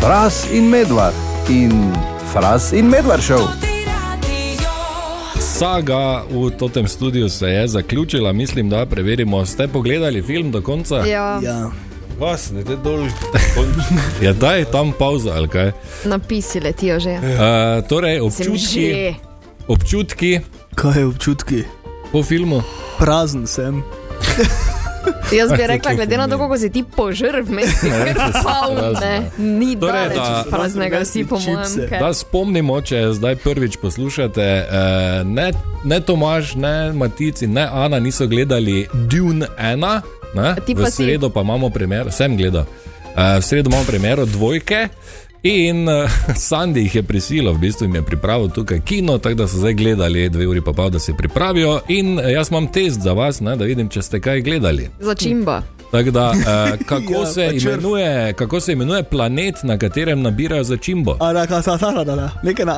Fras in medvard in Fras in medvard šel. Saga v tem studiu se je zaključila, mislim, da preverimo. Ste pogledali film do konca? Ja, Ja. Vas ne te dol. Ja. Ja, da je tam pauza ali kaj. napisi letijo že. Uh, torej, Sem občutki, že. občutki Kaj je občutki? po filmu. Prazen sem. Jaz bi to rekla, glede na to, kako si ti požrl, vmes, razumem. ne, ni Torej, daleč da- od praznega, vsi po Čipse. mojem. kaj. Da spomnimo, če zdaj prvič poslušate, eh, ne, ne Tomaž, ne Matici, ne Ana niso gledali Dune 1, ne? Ti v pa si. sredo pa imamo primer, sem gledal, Eh, v sredo imamo primer dvojke. In uh, Sandy jih je prisilil, v bistvu jim je pripravil tukaj kino, tako da so zdaj gledali dve uri pa pol, da se pripravijo. In eh, jaz imam test za vas, ne, da vidim, če ste kaj gledali. Začimba. Tako da, uh, kako, Ja, ja, se pa črv. imenuje, kako se imenuje planet, na katerem nabirajo začimbo? A da, ka sa sara, da, da. Nekaj na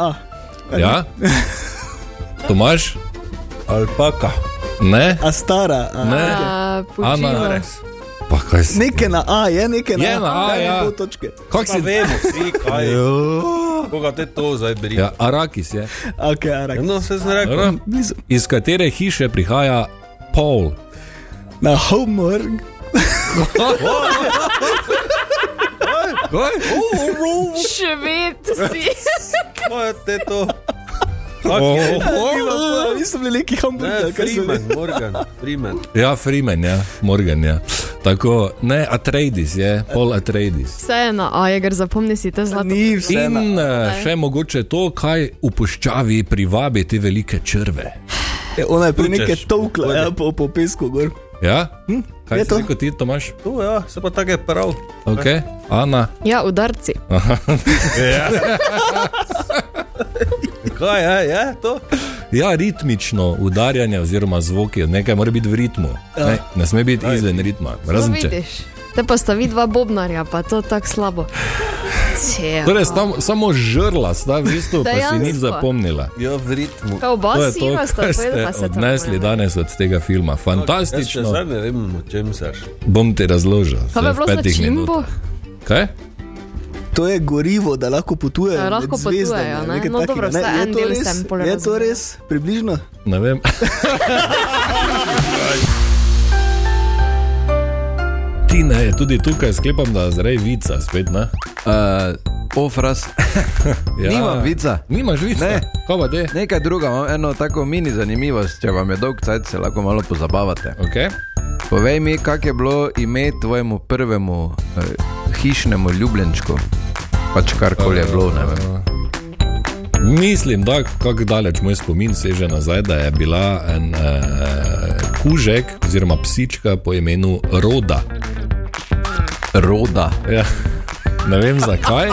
A. Ja? Tomaž? Alpaka. Ne? A stara. A. Ne? A, Ja. Ana. Pučino. Pa kaj si? Nekaj na A, je nekaj na Je na A, Daj mi ja. pol točke. Kak Si si? vemo, vsi kaj. Koga te to zdaj beri? Ja, Arakis je. Ok, arak. No, se sem rekel. Dobro. Blizu. Iz katere hiše prihaja Paul? Na homework. Šved si. Kaj je te to? Nisem bili neki Ne, hamburger, kaj so bili. Freeman, Morgan, Freeman. Ja, Freeman, ja, Morgan, ja. Tako, ne, Atreides je, Paul Atreides. Vse je na A, jeger zapomni si te zlato. Ni vse. na- In eh, še mogoče to, kaj v puščavi privabi te velike črve. E, Ona je pri Tučeš. neke tolkla, ja, po, po pesku gor. Ja? Hm, Kaj je si to? rekel ti, Tomaš? To ja, se pa tako je prav. Ok, Ana. Ja, udarci. Kaj je, je to? Ja, ritmično udarjanje oziroma zvoki, nekaj mora biti v ritmu. Ja. Ne, ne sme biti izven ritma, No, razen če. vidiš. Te pa sta vidva bobnarja, pa to tako slabo. Če. Torej, tam, samo žrla sta v bistvu, pa si ni Dejansko. zapomnila. Ja, v ritmu. Kao To je oba si to, ima sta, kar povedala ste pa se tako odnesli ne. danes od tega filma. Jaz še Fantastično. zdaj ne vem, o čem seš. Bom ti razložil. Kaj zdaj bi v bilo za petih čimbo? minutah. Kaj? To je gorivo, da lahko potujejo. Ja, lahko med zvezdami, potujejo, ne. nekaj No, takega, dobro, ne. vsaj Je en to del res? sem pol Je to razumela. res približno? Ne vem. Tina je tudi tukaj, sklepam, da zdaj vica spet. Ne? Uh, Ofras, Ja. Nimam vica. Nimaš vica. Ne. Kaj pa te? nekaj druga, imam eno tako mini zanimivost, če vam je dolg cajt, se lahko malo pozabavate. Okay. Povej mi, kak je bilo ime tvojemu prvemu eh, hišnemu ljubljenčku, pač karkoli je bilo, ne vem. Eh. Mislim, da kako daleč moj spomin seže nazaj, da je bila en uh, kužek oziroma psička po imenu Roda. Roda. Ja. Ne vem zakaj,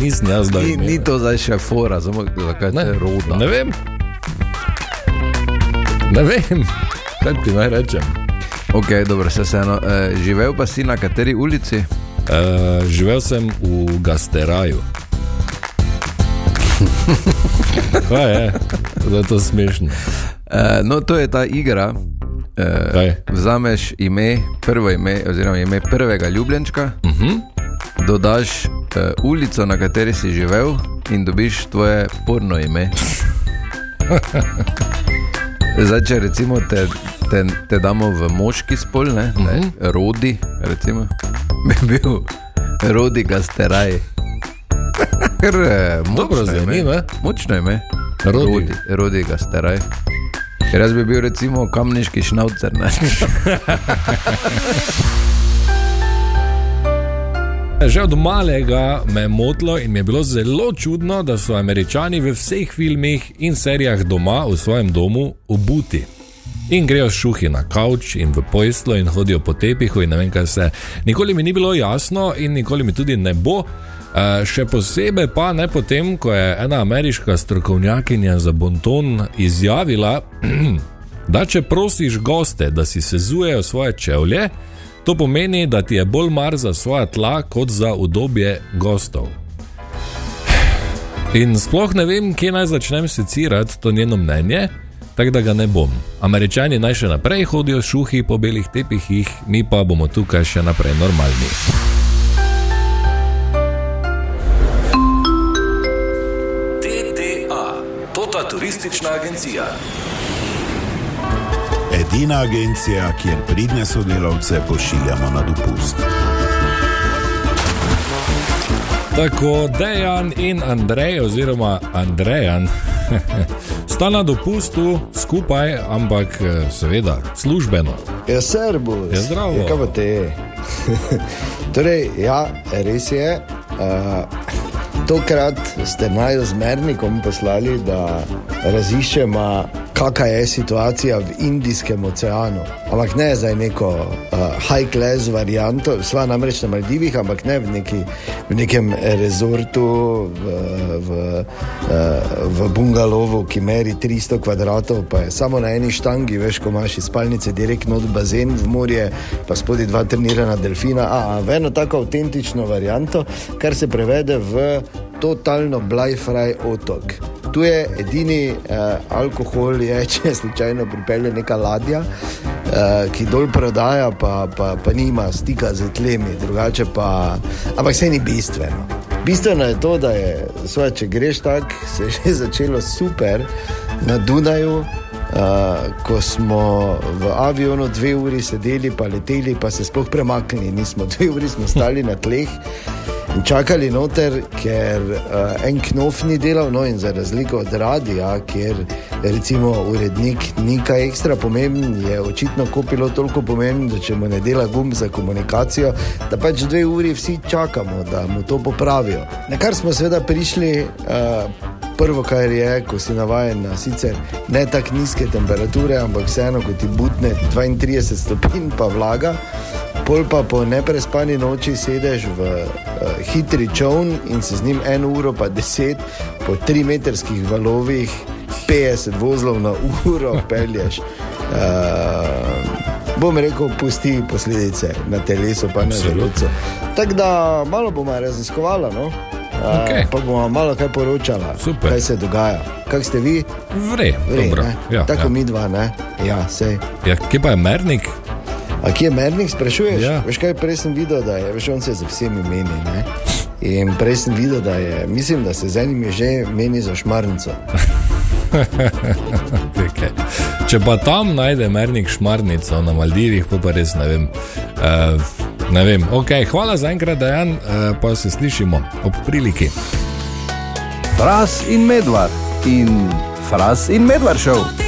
nisem jaz da. Ni, ni to zdaj še fora, samo zakaj ne, ne roda. Ne vem. Ne vem, kaj ti naj rečem. Ok, dobro, se vseeno. Eh, živel pa si na kateri ulici? Uh, živel sem v Gasteraju. Kaj je? Zdaj je to smešno. Eh, no, to je ta igra. Eh, Kaj? Vzameš ime, prvo ime, oziroma ime prvega ljubljenčka, uh Mhm. -huh. dodaš uh, ulico, na kateri si živel, in dobiš tvoje porno ime. Zdaj, če recimo te, te, te damo v moški spol, ne, uh Mhm. -huh. ne rodi, recimo, bi bil rodi gasteraj. Ker, eh, Dobro močno zveni, ime. ne? Močno ime. Rodi. rodi, rodi gasteraj. Ker jaz bi bil recimo kamniški šnaucer. Ne? Že od malega me je motilo in mi je bilo zelo čudno, da so američani v vseh filmih in serijah doma v svojem domu obuti. In grejo šuhi na kavč in v pojstvo in hodijo po tepihu in ne vem kaj vse. Nikoli mi ni bilo jasno in nikoli mi tudi ne bo. E, še posebej pa ne potem, ko je ena ameriška strokovnjakinja za bonton izjavila, da če prosiš goste, da si sezujejo svoje čevlje, to pomeni, da ti je bolj mar za svoje tla kot za udobje gostov. In sploh ne vem, kje naj začnem secirati to njeno mnenje, tako da ga ne bom. Američani naj še naprej hodijo šuhi po belih tepihih, mi pa bomo tukaj še naprej normalni. Tota Turistična agencija. Edina agencija, kjer pridne sodelavce pošiljamo na dopust. Tako Dejan in Andrej, oziroma Andrejan, sta na dopustu skupaj, ampak eh, seveda službeno. Ja, servus. Ja, zdravo. Ja, kaj pa te? torej, ja, res je. Uh, tokrat ste naj z mernikom poslali, da raziščemo, kakšna je situacija v Indijskem oceanu. Ampak ne za neko uh, high-class varianto, sva namreč na Maldivih, ampak ne v, neki, v nekem rezortu, v, v, eh, v bungalovu, ki meri 300 kvadratov, pa je samo na eni štangi, veš, ko imaš iz spalnice direktno od bazena v morje, pa spodaj dva trenirana delfina. A, v eno tako avtentično varianto, kar se prevede v totalno blajfraj otok. Tu je edini eh, alkohol, je, če slučajno pripelje neka ladja, eh, ki dol prodaja, pa, pa, pa nima stika z tlemi, drugače pa, ampak se ni bistveno. Bistveno je to, da je, svoje, če greš tako, se je že začelo super na Dunaju. Uh, ko smo v avionu dve uri sedeli, pa leteli, pa se sploh premaknili, nismo dve uri smo stali na tleh in čakali noter, ker uh, en knof ni delal, no in za razliko od radia, kjer recimo urednik ni kaj ekstra pomemben, je očitno kopilo toliko pomemben, da če mu ne dela gum za komunikacijo, da pač dve uri vsi čakamo, da mu to popravijo. Na kar smo seveda prišli. Uh, Prvo, kar je, ko si navaden na sicer ne tako nizke temperature, ampak vseeno, ko ti butne 32 stopinj, pa vlaga, pol pa po neprespani noči sedeš v uh, hitri čovn in se z njim eno uro, pa deset po trimetrskih valovih, 50 vozlov na uro pelješ. Uh, Bom rekel, pusti posledice na telesu, pa na želodcu. Tako da malo bomo raziskovali, no? uh, Okej. pa bomo malo kaj poročala, Super. kaj se dogaja. Kako ste vi, Vre, Vre, dobro. ne? Ja, tako ja. mi dva, ne? Ja, sej. Ja, kje pa je mernik? A kje je mernik, sprašuješ? Ja. Ja. Veš kaj, prej sem videl, da je, veš, on se za vsemi meni. Ne? In prej sem videl, da je, mislim, da se z enim že meni za šmarnico. Okay. Če pa tam najde mernik šmarnico na Maldivih, pol pa res ne vem. Uh, ne vem. Okay, hvala za enkrat, Dejan, uh, pa se slišimo ob priliki. Fras in medvard in Fras in medvard šov.